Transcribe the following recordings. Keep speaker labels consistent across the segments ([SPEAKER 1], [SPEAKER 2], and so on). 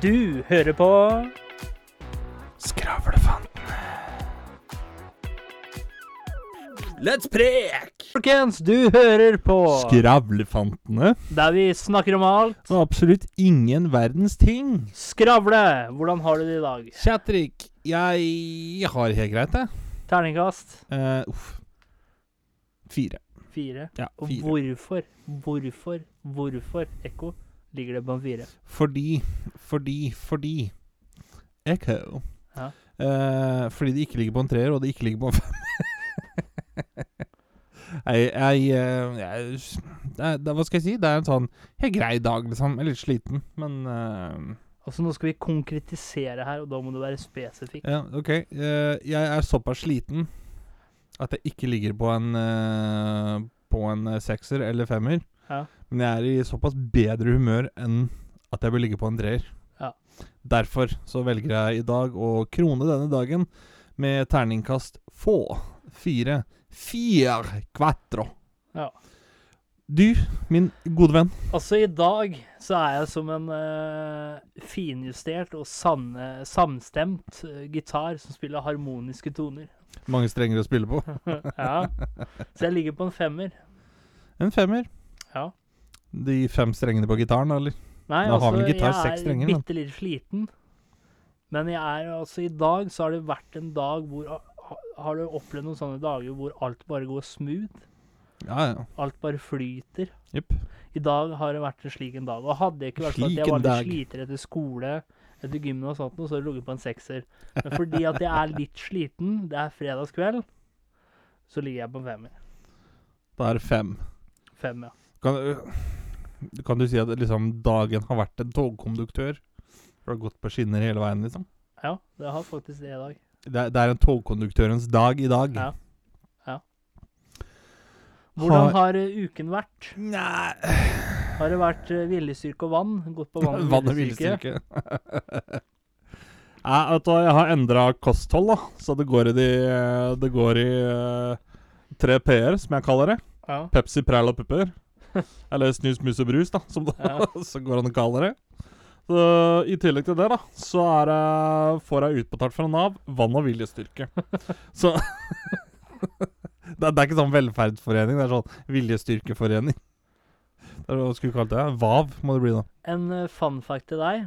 [SPEAKER 1] Du hører på
[SPEAKER 2] Skravlefantene. Let's prek!
[SPEAKER 1] Folkens, du hører på
[SPEAKER 2] Skravlefantene.
[SPEAKER 1] Der vi snakker om alt.
[SPEAKER 2] Og absolutt ingen verdens ting.
[SPEAKER 1] Skravle! Hvordan har du det i dag?
[SPEAKER 2] Chatrik, jeg har helt greit, jeg.
[SPEAKER 1] Terningkast
[SPEAKER 2] Eh, uff. Fire.
[SPEAKER 1] fire.
[SPEAKER 2] Ja,
[SPEAKER 1] Og
[SPEAKER 2] fire.
[SPEAKER 1] hvorfor, hvorfor, hvorfor, ekko, ligger det på en fire?
[SPEAKER 2] Fordi, fordi, fordi Echo.
[SPEAKER 1] Ja.
[SPEAKER 2] Eh, fordi det ikke ligger på en treer, og det ikke ligger på en fem. jeg, jeg, eh, jeg det er, det, er- Hva skal jeg si? Det er en sånn helt grei dag, liksom. Jeg er litt sliten, men eh,
[SPEAKER 1] Altså, nå skal vi konkretisere her, og da må du være spesifikk.
[SPEAKER 2] Ja, OK. Eh, jeg er såpass sliten at jeg ikke ligger på en eh, På en eh, sekser eller femmer.
[SPEAKER 1] Ja.
[SPEAKER 2] Men jeg er i såpass bedre humør enn at jeg vil ligge på en treer.
[SPEAKER 1] Ja.
[SPEAKER 2] Derfor så velger jeg i dag å krone denne dagen med terningkast få. Fire. Fire quattro.
[SPEAKER 1] Ja.
[SPEAKER 2] Du, min gode venn.
[SPEAKER 1] Altså, i dag så er jeg som en eh, finjustert og sanne, samstemt eh, gitar som spiller harmoniske toner.
[SPEAKER 2] Mange strenger å spille på.
[SPEAKER 1] ja. Så jeg ligger på en femmer.
[SPEAKER 2] En femmer.
[SPEAKER 1] Ja.
[SPEAKER 2] De fem strengene på gitaren, eller?
[SPEAKER 1] Nei,
[SPEAKER 2] Da har
[SPEAKER 1] altså,
[SPEAKER 2] vel en gitar seks
[SPEAKER 1] jeg
[SPEAKER 2] strenger,
[SPEAKER 1] er
[SPEAKER 2] da.
[SPEAKER 1] bitte litt sliten. Men jeg er altså I dag så har det vært en dag hvor ha- Har du opplevd noen sånne dager hvor alt bare går smooth?
[SPEAKER 2] Ja, ja.
[SPEAKER 1] Alt bare flyter?
[SPEAKER 2] Jepp.
[SPEAKER 1] I dag har det vært en slik en dag. Og hadde jeg ikke vært sånn at
[SPEAKER 2] Slik
[SPEAKER 1] jeg
[SPEAKER 2] en
[SPEAKER 1] var
[SPEAKER 2] dag.
[SPEAKER 1] litt sliter etter skole, etter gymmen og sånt, noe, så hadde jeg ligget på en sekser. Men fordi at jeg er litt sliten, det er fredagskveld, så ligger jeg på en femmer.
[SPEAKER 2] Da er det fem.
[SPEAKER 1] Fem, ja.
[SPEAKER 2] Kan, øh, kan du si at liksom dagen har vært en togkonduktør? Du har gått på skinner hele veien, liksom?
[SPEAKER 1] Ja, det har faktisk det i dag.
[SPEAKER 2] Det er, det er en togkonduktørens dag i dag.
[SPEAKER 1] Ja. Hvordan har eh, uken vært?
[SPEAKER 2] Nei
[SPEAKER 1] Har det vært eh, viljestyrke og vann? Gått på vann og
[SPEAKER 2] Vann og
[SPEAKER 1] viljestyrke?
[SPEAKER 2] villstyrke. Nei, vet du hva, jeg har endra kosthold, da. Så det går i de Det går i øh, tre p-er, som jeg kaller det.
[SPEAKER 1] Ja.
[SPEAKER 2] Pepsi, Præl og Pupper. Eller Snus, Mus og Brus, da, som det
[SPEAKER 1] Ja.
[SPEAKER 2] så går an å kalle det. Så, I tillegg til det, da, så er jeg, får jeg utbetalt fra Nav vann- og viljestyrke. Så det, er- det er ikke sånn velferdsforening, det er sånn viljestyrkeforening. Det er, hva skulle vi kalt det? VAV må det bli, da.
[SPEAKER 1] En eh, fun fact til deg.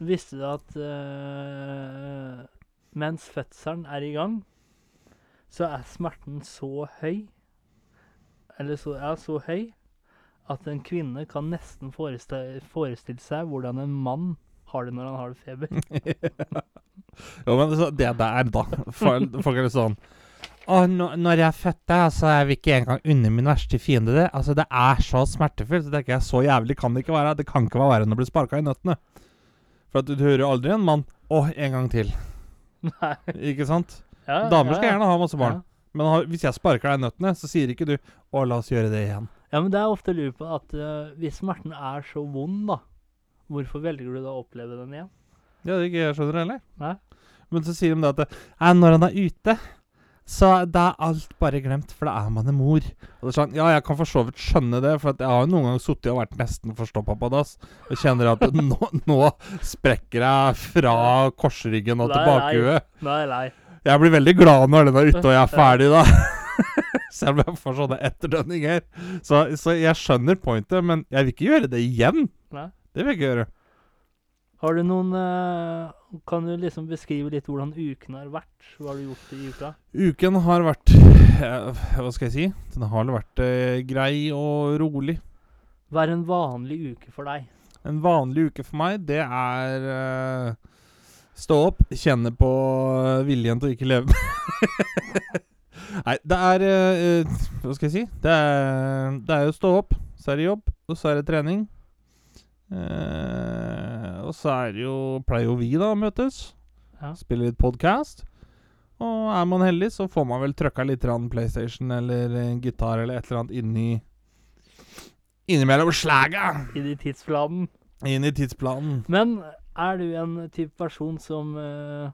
[SPEAKER 1] Visste du at eh, mens fødselen er i gang, så er smerten så høy Eller så, ja, så høy at en kvinne kan nesten forestille, forestille seg hvordan en mann har det når han har det
[SPEAKER 2] Hm.
[SPEAKER 1] feber.
[SPEAKER 2] Jo, men så, det der, da. Folk folk er litt sånn Å, nå- når jeg fødte, altså, jeg vil ikke engang unne min verste fiende det. Altså, det er så smertefullt. Så tenker jeg, så jævlig kan det ikke være. Det kan ikke være verre enn å bli sparka i nøttene. For at du hører jo aldri en mann Å, en gang til.
[SPEAKER 1] Nei.
[SPEAKER 2] Ikke sant?
[SPEAKER 1] Ja,
[SPEAKER 2] Damer
[SPEAKER 1] ja,
[SPEAKER 2] skal
[SPEAKER 1] ja.
[SPEAKER 2] gjerne ha masse barn.
[SPEAKER 1] Ja.
[SPEAKER 2] Men har, hvis jeg sparker deg i nøttene, så sier ikke du Å, la oss gjøre det igjen.
[SPEAKER 1] Ja, men det er ofte lurt på at eh, hvis smerten er så vond, da, hvorfor velger du da å oppleve den igjen?
[SPEAKER 2] Det er det ikke jeg skjønner heller.
[SPEAKER 1] Nei.
[SPEAKER 2] Men så sier de det at det, «Nei, når han er ute, så da er alt bare glemt, for da er man en mor. Og det er sånn, Ja, jeg kan for så vidt skjønne det, for at jeg har jo noen gang sittet og vært nesten forstoppa på dass. Og kjenner at nå, nå sprekker jeg fra korsryggen og
[SPEAKER 1] Nei,
[SPEAKER 2] til bakhuet.
[SPEAKER 1] Nå er jeg lei.
[SPEAKER 2] Jeg blir veldig glad når den er ute og jeg er ferdig, da. Selv om jeg får sånne etterdønninger. Så, så jeg skjønner pointet, men jeg vil ikke gjøre det igjen.
[SPEAKER 1] Nei.
[SPEAKER 2] Det vil jeg ikke gjøre.
[SPEAKER 1] Har du noen eh, Kan du liksom beskrive litt hvordan uken har vært? Hva har du gjort i uka?
[SPEAKER 2] Uken har vært eh, Hva skal jeg si? Den har vært eh, grei og rolig.
[SPEAKER 1] Hva er en vanlig uke for deg?
[SPEAKER 2] En vanlig uke for meg, det er eh, Stå opp, kjenne på eh, viljen til å ikke leve. Nei, det er eh, eh, Hva skal jeg si? Det er, det er jo stå opp, så er det jobb, og så er det trening. Eh, og så er det jo Pleier jo vi, da, å møtes.
[SPEAKER 1] Ja.
[SPEAKER 2] Spille litt podkast. Og er man heldig, så får man vel trøkka litt grann PlayStation eller eh, gitar eller et eller annet inni Innimellom slaga!
[SPEAKER 1] I de tidsplanen?
[SPEAKER 2] Inn i tidsplanen.
[SPEAKER 1] Men er du en type person som eh,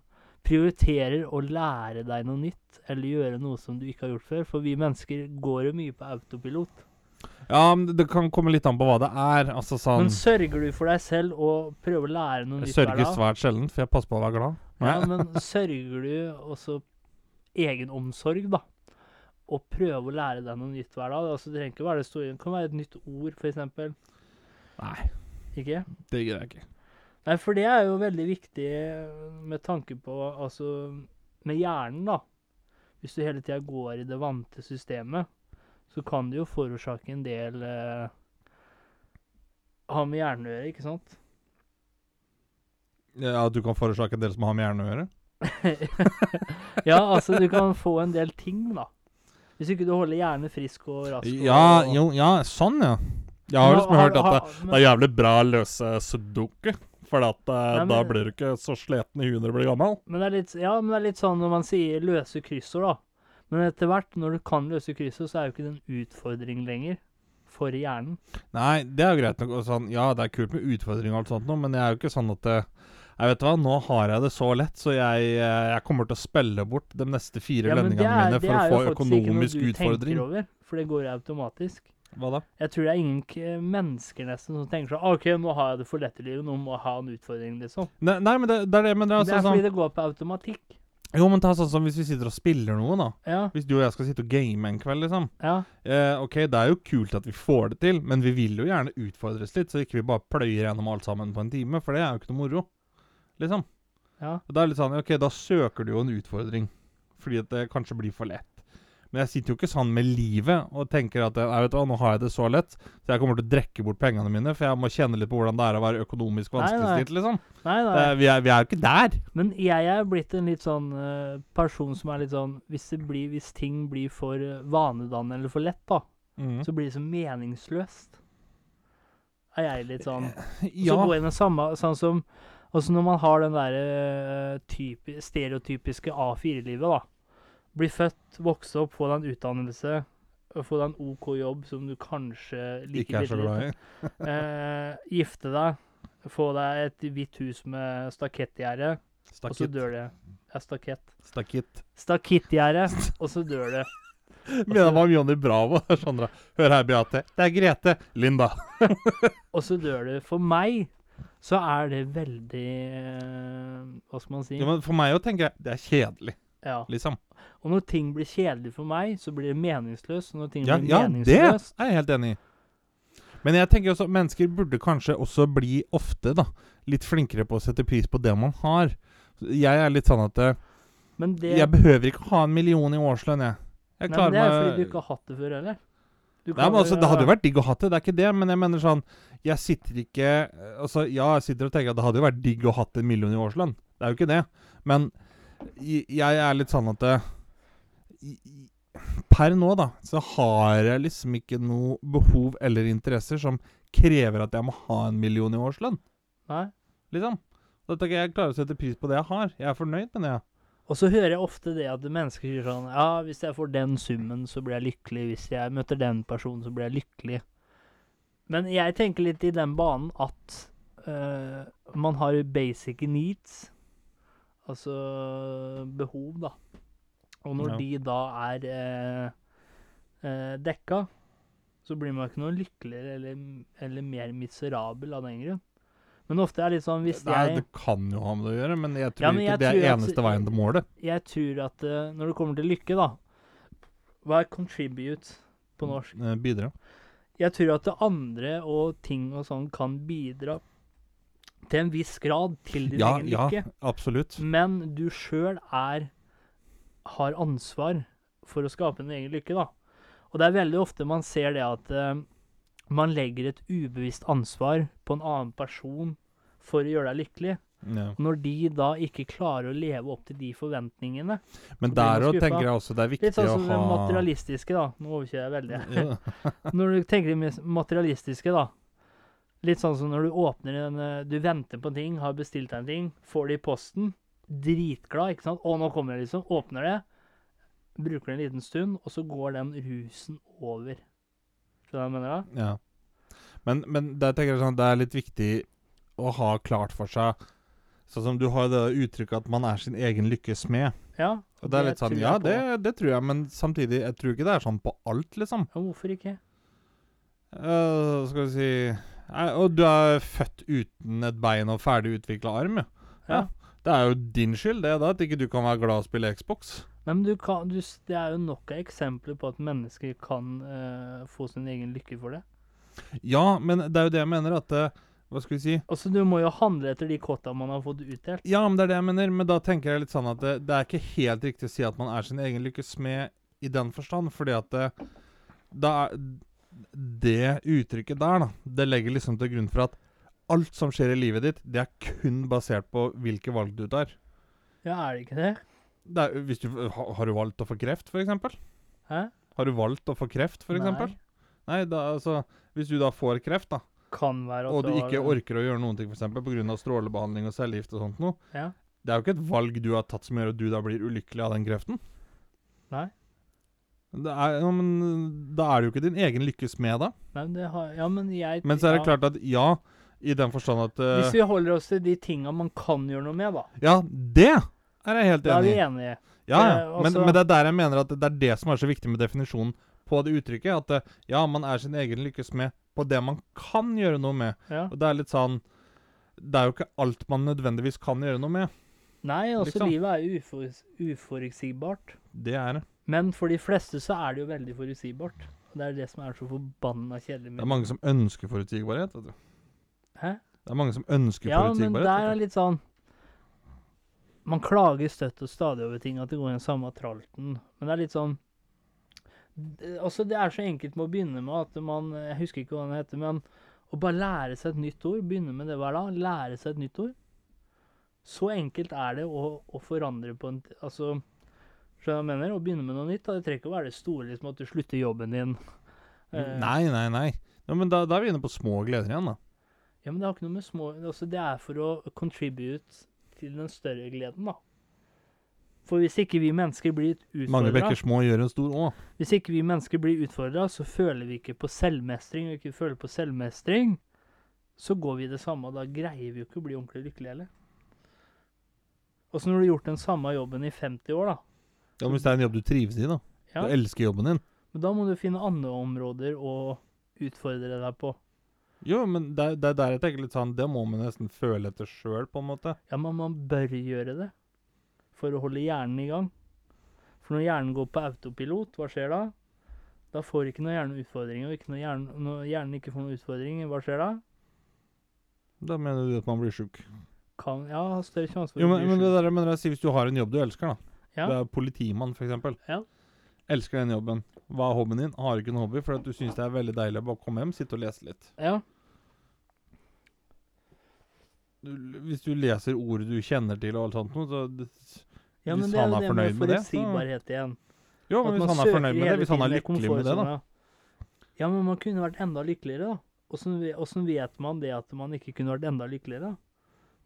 [SPEAKER 1] prioriterer å lære deg noe nytt? Eller gjøre noe som du ikke har gjort før? For vi mennesker går jo mye på autopilot.
[SPEAKER 2] Ja, men det- det kan komme litt an på hva det er. Altså sånn
[SPEAKER 1] Men sørger du for deg selv og prøver å lære noe
[SPEAKER 2] Jeg
[SPEAKER 1] nytt
[SPEAKER 2] sørger
[SPEAKER 1] hver dag?
[SPEAKER 2] svært sjelden, for jeg passer på å være glad.
[SPEAKER 1] Ja, men sørger du også egenomsorg, da? Og prøve å lære deg noe nytt hver dag? Altså, det trenger ikke være det store. Det kan være et nytt ord, f.eks.
[SPEAKER 2] Nei,
[SPEAKER 1] Ikke?
[SPEAKER 2] det gjør jeg ikke.
[SPEAKER 1] Nei, for det er jo veldig viktig med tanke på Altså med hjernen, da. Hvis du hele tida går i det vante systemet, så kan det jo forårsake en del eh, Ha med hjernen å gjøre, ikke sant?
[SPEAKER 2] Ja, du kan forårsake en del som har med hjernen å gjøre?
[SPEAKER 1] Ja, altså du kan få en del ting, da. Hvis ikke du holder hjernen frisk og rask. Og,
[SPEAKER 2] Ja,
[SPEAKER 1] og-
[SPEAKER 2] jo, ja, sånn, ja. Jeg har
[SPEAKER 1] Men
[SPEAKER 2] liksom hørt at det,
[SPEAKER 1] men-
[SPEAKER 2] det er jævlig bra å løse sudoku. For at, eh,
[SPEAKER 1] Nei, men-
[SPEAKER 2] da blir du ikke så sliten i huet når du blir gammel.
[SPEAKER 1] Men det er litt, ja, men det er litt sånn når man sier løse kryssord, da. Men etter hvert, når du kan løse kryssord, så er jo ikke det en utfordring lenger for hjernen.
[SPEAKER 2] Nei, det er jo greit nok. og Sånn, ja, det er kult med utfordringer og alt sånt, nå, men jeg er jo ikke sånn at eh, jeg vet hva, Nå har jeg det så lett, så jeg, eh, jeg kommer til å spille bort de neste fire
[SPEAKER 1] Ja, men det
[SPEAKER 2] lønningene
[SPEAKER 1] er,
[SPEAKER 2] mine
[SPEAKER 1] det
[SPEAKER 2] for å
[SPEAKER 1] er jo
[SPEAKER 2] få
[SPEAKER 1] faktisk ikke noe
[SPEAKER 2] økonomisk
[SPEAKER 1] du
[SPEAKER 2] utfordring.
[SPEAKER 1] tenker over, for det går automatisk.
[SPEAKER 2] Hva da?
[SPEAKER 1] Jeg tror det er ingen k- mennesker nesten som tenker sånn OK, nå har jeg det for lett i livet, nå må jeg ha en utfordring, liksom.
[SPEAKER 2] Nei, nei men det, det er det, men det er
[SPEAKER 1] det
[SPEAKER 2] altså
[SPEAKER 1] er
[SPEAKER 2] sånn
[SPEAKER 1] fordi det går på automatikk.
[SPEAKER 2] Jo, men ta sånn som hvis vi sitter og spiller noe, da.
[SPEAKER 1] Ja,
[SPEAKER 2] Hvis du og jeg skal sitte og game en kveld, liksom.
[SPEAKER 1] ja.
[SPEAKER 2] Eh, OK, det er jo kult at vi får det til, men vi vil jo gjerne utfordres litt, så ikke vi bare pløyer gjennom alt sammen på en time, for det er jo ikke noe moro. Liksom.
[SPEAKER 1] Ja.
[SPEAKER 2] Og da er det litt sånn OK, da søker du jo en utfordring, fordi at det kanskje blir for lett. Men jeg sitter jo ikke sånn med livet og tenker at jeg vet du hva, nå har jeg det så lett, så jeg kommer til å drekke bort pengene mine, for jeg må kjenne litt på hvordan det er å være økonomisk
[SPEAKER 1] Nei, nei.
[SPEAKER 2] vanskeligstilt, liksom.
[SPEAKER 1] Nei, nei.
[SPEAKER 2] Eh, vi, er, vi er jo ikke der.
[SPEAKER 1] Men jeg er blitt en litt sånn eh, person som er litt sånn Hvis, det blir, hvis ting blir for eh, vanedannende eller for lett, da,
[SPEAKER 2] Mm.
[SPEAKER 1] så blir det så meningsløst. Er jeg litt sånn. Så
[SPEAKER 2] Eh, Ja.
[SPEAKER 1] går jeg inn i samme Sånn som altså når man har den derre typi, stereotypiske A4-livet, da. Blir født, vokse opp, få deg en utdannelse, og få deg en OK jobb som du kanskje liker
[SPEAKER 2] Ikke er så
[SPEAKER 1] bitte litt.
[SPEAKER 2] glad i.
[SPEAKER 1] Eh, gifte deg, få deg et hvitt hus med stakettgjerde, og så
[SPEAKER 2] Stakitt.
[SPEAKER 1] dør det. Ja, stakett.
[SPEAKER 2] Stakitt.
[SPEAKER 1] Stakettgjerde, og så dør det.
[SPEAKER 2] Mener man om Johnny Bravo. det er Sånn, da. Hør her, Beate. Det er Grete. Linda.
[SPEAKER 1] Og så dør det. For meg så er det veldig eh, Hva skal man si?
[SPEAKER 2] Ja, men for meg òg tenker jeg det er kjedelig,
[SPEAKER 1] Ja.
[SPEAKER 2] liksom.
[SPEAKER 1] Og når ting blir kjedelig for meg, så blir det meningsløst. Og når ting
[SPEAKER 2] Ja,
[SPEAKER 1] blir
[SPEAKER 2] ja det er
[SPEAKER 1] meningsløst
[SPEAKER 2] jeg helt enig i. Men jeg tenker også mennesker burde kanskje også bli ofte, da, litt flinkere på å sette pris på det man har. Jeg er litt sånn at eh,
[SPEAKER 1] Men det,
[SPEAKER 2] jeg behøver ikke ha en million i årslønn, jeg. Jeg
[SPEAKER 1] nei, men
[SPEAKER 2] klarer
[SPEAKER 1] det er
[SPEAKER 2] meg
[SPEAKER 1] fordi du ikke har hatt det før heller. Du
[SPEAKER 2] Nei,
[SPEAKER 1] kan
[SPEAKER 2] men altså, Det hadde jo
[SPEAKER 1] være-
[SPEAKER 2] vært digg å ha det, det er ikke det. Men jeg mener sånn Jeg sitter ikke Altså, ja, jeg sitter og tenker at det hadde jo vært digg å ha en million i årslønn. Det er jo ikke det. Men j- jeg er litt sånn at eh, i- i- Per nå, da, så har jeg liksom ikke noe behov eller interesser som krever at jeg må ha en million i årslønn.
[SPEAKER 1] Nei.
[SPEAKER 2] Liksom. Da tenker jeg jeg klarer å sette pris på det jeg har. Jeg er fornøyd med det. jeg.
[SPEAKER 1] Og så hører jeg ofte det at mennesker sier sånn Ja, hvis jeg får den summen, så blir jeg lykkelig. Hvis jeg møter den personen, så blir jeg lykkelig. Men jeg tenker litt i den banen at øh, man har basic needs, altså behov, da. Og når
[SPEAKER 2] Ja.
[SPEAKER 1] de da er eh, eh, dekka, så blir man ikke noe lykkeligere eller, eller mer miserabel av den grunn. Men ofte er det litt sånn hvis
[SPEAKER 2] Det, er,
[SPEAKER 1] jeg
[SPEAKER 2] det kan jo ha med det å gjøre, men jeg tror
[SPEAKER 1] Ja, men jeg
[SPEAKER 2] ikke det er
[SPEAKER 1] tror at-
[SPEAKER 2] eneste veien til målet.
[SPEAKER 1] jeg tror at eh, når det kommer til lykke, da Hva er contribute på norsk?
[SPEAKER 2] Eh, Bidra.
[SPEAKER 1] Jeg tror at det andre og ting og sånn kan bidra til en viss grad til din
[SPEAKER 2] Ja,
[SPEAKER 1] egen
[SPEAKER 2] ja,
[SPEAKER 1] lykke,
[SPEAKER 2] absolutt.
[SPEAKER 1] men du sjøl er har ansvar for å skape din egen lykke, da. Og det er veldig ofte man ser det at eh, man legger et ubevisst ansvar på en annen person for å gjøre deg lykkelig.
[SPEAKER 2] Ja.
[SPEAKER 1] Når de da ikke klarer å leve opp til de forventningene,
[SPEAKER 2] Men
[SPEAKER 1] Så blir man
[SPEAKER 2] der òg
[SPEAKER 1] skuffa.
[SPEAKER 2] tenker jeg også det er viktig
[SPEAKER 1] Litt sånn som
[SPEAKER 2] å
[SPEAKER 1] det
[SPEAKER 2] ha
[SPEAKER 1] materialistiske, da. Nå overkjører jeg veldig.
[SPEAKER 2] Ja.
[SPEAKER 1] når du tenker det mes- materialistiske, da. Litt sånn som når du åpner en eh, Du venter på en ting, har bestilt deg en ting, får det i posten. Dritglad, ikke sant. Å, nå kommer det, liksom. Åpner det. Bruker det en liten stund, og så går den rusen over. Skjønner du hva jeg mener da?
[SPEAKER 2] ja. Men, men der tenker jeg sånn, det er litt viktig å ha klart for seg Sånn som du har det uttrykket at man er sin egen lykkes smed.
[SPEAKER 1] Ja.
[SPEAKER 2] Og det er litt sånn
[SPEAKER 1] tror
[SPEAKER 2] Ja,
[SPEAKER 1] jeg på.
[SPEAKER 2] det, det tror jeg, men samtidig Jeg tror ikke det er sånn på alt, liksom.
[SPEAKER 1] Ja, hvorfor ikke?
[SPEAKER 2] Eh, skal vi si Nei, Og du er født uten et bein og ferdig utvikla arm, ja.
[SPEAKER 1] Ja.
[SPEAKER 2] Det er jo din skyld, det, da, at ikke du kan være glad og spille Xbox.
[SPEAKER 1] Nei, men du kan, du, s- det er jo nok av eksempler på at mennesker kan eh, få sin egen lykke for det.
[SPEAKER 2] Ja, men det er jo det jeg mener, at eh, Hva skal vi si?
[SPEAKER 1] Altså, du må jo handle etter de kåta man har fått utdelt.
[SPEAKER 2] Ja, men det er det jeg mener, men da tenker jeg litt sånn at det, det er ikke helt riktig å si at man er sin egen lykkes smed i den forstand, fordi at det, da er Det uttrykket der, da, det legger liksom til grunn for at alt som skjer i livet ditt, det er kun basert på hvilke valg du tar.
[SPEAKER 1] Ja, er det ikke det?
[SPEAKER 2] Det er, hvis du, ha, har du valgt å få kreft, f.eks.?
[SPEAKER 1] Hæ?
[SPEAKER 2] Har du valgt å få kreft, f.eks.? Nei.
[SPEAKER 1] Nei.
[SPEAKER 2] Nei da, altså, hvis du da får kreft, da,
[SPEAKER 1] Kan være at
[SPEAKER 2] og du
[SPEAKER 1] har
[SPEAKER 2] ikke
[SPEAKER 1] en-
[SPEAKER 2] orker å gjøre noen ting, f.eks. pga. strålebehandling og cellegift og sånt noe,
[SPEAKER 1] Ja.
[SPEAKER 2] det er jo ikke et valg du har tatt som gjør at du da blir ulykkelig av den kreften.
[SPEAKER 1] Nei.
[SPEAKER 2] Det er, ja, men da er det jo ikke din egen lykkes med, da.
[SPEAKER 1] Nei, men det har Ja, men jeg
[SPEAKER 2] Men så er
[SPEAKER 1] ja.
[SPEAKER 2] det klart at ja, i den forstand at eh,
[SPEAKER 1] Hvis vi holder oss til de tinga man kan gjøre noe med, da.
[SPEAKER 2] Ja, det er jeg helt
[SPEAKER 1] Da er
[SPEAKER 2] enig
[SPEAKER 1] vi
[SPEAKER 2] i.
[SPEAKER 1] enige.
[SPEAKER 2] Ja,
[SPEAKER 1] Eh,
[SPEAKER 2] ja.
[SPEAKER 1] og
[SPEAKER 2] Men,
[SPEAKER 1] så-
[SPEAKER 2] men det er der jeg mener at det er det som er så viktig med definisjonen på det uttrykket. At eh, ja, man er sin egen lykkes med på det man kan gjøre noe med.
[SPEAKER 1] Ja.
[SPEAKER 2] Og det er litt sånn Det er jo ikke alt man nødvendigvis kan gjøre noe med.
[SPEAKER 1] Nei, altså,
[SPEAKER 2] Liksom.
[SPEAKER 1] livet er jo uforuts uforutsigbart.
[SPEAKER 2] Det er det.
[SPEAKER 1] Men for de fleste så er det jo veldig forutsigbart. Og det er det som er så forbanna kjedelig
[SPEAKER 2] Det
[SPEAKER 1] med
[SPEAKER 2] er mange som ønsker forutsigbarhet. Vet du.
[SPEAKER 1] Hæ?
[SPEAKER 2] Det er mange som ønsker
[SPEAKER 1] Ja, men
[SPEAKER 2] forutsigbarhet.
[SPEAKER 1] der er
[SPEAKER 2] vet
[SPEAKER 1] litt sånn Man klager støtt og stadig over ting, at det går i den samme tralten. Men det er litt sånn det- Altså, det er så enkelt med å begynne med at man Jeg husker ikke hva den heter, men å bare lære seg et nytt ord. Begynne med det hver dag. Lære seg et nytt ord. Så enkelt er det å, å forandre på en t- Altså Skjønner du hva jeg mener? Å begynne med noe nytt. Da. Det trenger ikke å være det store, liksom at du slutter jobben din.
[SPEAKER 2] du.
[SPEAKER 1] Eh,
[SPEAKER 2] Nei, nei, nei. Ja, men da, da er vi inne på små gleder igjen, da.
[SPEAKER 1] Ja, men det har ikke noe med små altså Det er for å contribute til den større gleden, da. For hvis ikke vi mennesker blir
[SPEAKER 2] Mange
[SPEAKER 1] utfordra,
[SPEAKER 2] bekker små gjør en stor å.
[SPEAKER 1] hvis ikke vi mennesker blir utfordra, så føler vi ikke på selvmestring. Og ikke føler på selvmestring, så går vi i det samme. og Da greier vi jo ikke å bli ordentlig lykkelige heller. Og så når du har gjort den samme jobben i 50 år, da.
[SPEAKER 2] Ja, men hvis det er en jobb du trives i, da.
[SPEAKER 1] Ja.
[SPEAKER 2] Du elsker jobben din.
[SPEAKER 1] Men da må du finne andre områder å utfordre deg på.
[SPEAKER 2] Jo, men det er det er der jeg tenker litt sånn Det må man nesten føle etter sjøl, på en måte.
[SPEAKER 1] Ja, men man bør gjøre det for å holde hjernen i gang. For når hjernen går på autopilot, hva skjer da? Da får ikke noe hjerne utfordringer, og ikke når hjernen, når hjernen ikke får noen utfordringer, hva skjer da?
[SPEAKER 2] Da mener du at man blir sjuk.
[SPEAKER 1] Kan, ja, har større sjanse for
[SPEAKER 2] Jo,
[SPEAKER 1] å
[SPEAKER 2] men,
[SPEAKER 1] bli
[SPEAKER 2] men det
[SPEAKER 1] sjuk.
[SPEAKER 2] der jeg mener jeg sier, Hvis du har en jobb du elsker, da.
[SPEAKER 1] Ja.
[SPEAKER 2] Du er politimann, f.eks.
[SPEAKER 1] Ja.
[SPEAKER 2] Elsker den jobben. Hva er hobbyen din? Har ikke en hobby fordi at du syns det er veldig deilig å bare komme hjem, sitte og lese litt.
[SPEAKER 1] Ja,
[SPEAKER 2] Du, hvis du leser ord du kjenner til og alt sånt noe, så det-
[SPEAKER 1] ja,
[SPEAKER 2] Hvis
[SPEAKER 1] men det er
[SPEAKER 2] han
[SPEAKER 1] jo
[SPEAKER 2] er
[SPEAKER 1] det med
[SPEAKER 2] fornøyd med det, så-
[SPEAKER 1] forutsigbarhet igjen.
[SPEAKER 2] Jo, men
[SPEAKER 1] At
[SPEAKER 2] hvis
[SPEAKER 1] man
[SPEAKER 2] han er
[SPEAKER 1] søker
[SPEAKER 2] fornøyd med det,
[SPEAKER 1] hele
[SPEAKER 2] hvis han er
[SPEAKER 1] tiden liksom, i
[SPEAKER 2] lykkelig med det, da.
[SPEAKER 1] komfortsona. Ja, men man kunne vært enda lykkeligere, da. Åssen ve- Åssen vet man det at man ikke kunne vært enda lykkeligere?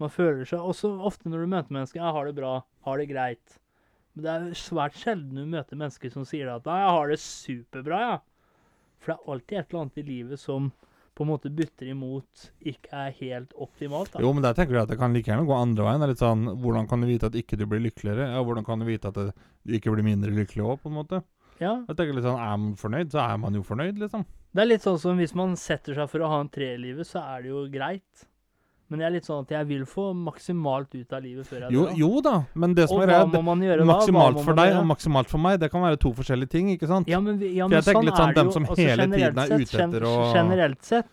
[SPEAKER 1] Man føler seg Også ofte når du møter mennesker, jeg har det bra, har det greit. Men det er jo svært sjelden du møter mennesker som sier at nei, jeg har det superbra, ja. For det er alltid et eller annet i livet som på en måte butter imot, ikke er helt optimalt. da.
[SPEAKER 2] Jo, men der tenker jeg at det kan like gjerne gå andre veien. Det er litt sånn, Hvordan kan du vite at ikke du blir lykkeligere? Ja, hvordan kan du vite at det- du ikke blir mindre lykkelig òg, på en måte?
[SPEAKER 1] Ja,
[SPEAKER 2] Jeg tenker litt sånn, Er man fornøyd, så er man jo fornøyd, liksom.
[SPEAKER 1] Det er litt sånn som hvis man setter seg for å ha en tre i livet, så er det jo greit. Men jeg er litt sånn at jeg vil få maksimalt ut av livet før jeg dør.
[SPEAKER 2] Jo,
[SPEAKER 1] da.
[SPEAKER 2] jo da, men det som
[SPEAKER 1] og
[SPEAKER 2] er
[SPEAKER 1] hva
[SPEAKER 2] redd,
[SPEAKER 1] må man gjøre da? Hva
[SPEAKER 2] maksimalt
[SPEAKER 1] må
[SPEAKER 2] for
[SPEAKER 1] man
[SPEAKER 2] deg
[SPEAKER 1] gjøre?
[SPEAKER 2] og maksimalt for meg, det kan være to forskjellige ting, ikke sant?
[SPEAKER 1] ja, men, vi- ja,
[SPEAKER 2] For
[SPEAKER 1] men
[SPEAKER 2] jeg tenker
[SPEAKER 1] sånn
[SPEAKER 2] litt sånn,
[SPEAKER 1] er det
[SPEAKER 2] dem
[SPEAKER 1] jo.
[SPEAKER 2] som
[SPEAKER 1] Altså,
[SPEAKER 2] hele
[SPEAKER 1] generelt
[SPEAKER 2] tiden er
[SPEAKER 1] sett,
[SPEAKER 2] ute etter
[SPEAKER 1] gen-
[SPEAKER 2] å-
[SPEAKER 1] Generelt sett.